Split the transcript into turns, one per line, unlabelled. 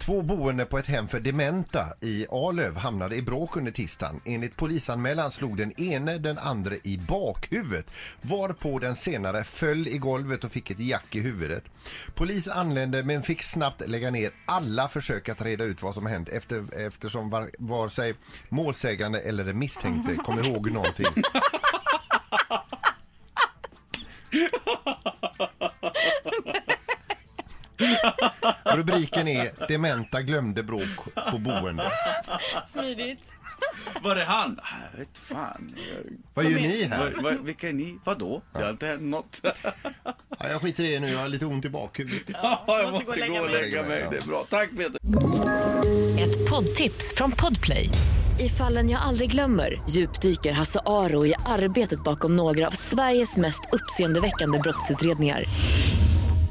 Två boende på ett hem för dementa i Arlöv hamnade i bråk under tisdagen. Enligt polisanmälan slog den ene den andra i bakhuvudet varpå den senare föll i golvet och fick ett jack i huvudet. Polis anlände men fick snabbt lägga ner alla försök att reda ut vad som hänt efter, eftersom var, var sig målsägande eller den misstänkte kom ihåg någonting. Rubriken är Dementa glömde bråk på boende.
Smidigt.
Var det han? Jag vet fan.
Vad gör ni här?
Var, var, vilka är ni? Vadå? Det har inte hänt något.
Ja, jag skiter i det nu, jag har lite ont i bakhuvudet.
jag
måste gå och lägga mig.
Det är bra. Tack Peter.
Ett poddtips från Podplay. I fallen jag aldrig glömmer djupdyker Hasse Aro i arbetet bakom några av Sveriges mest uppseendeväckande brottsutredningar.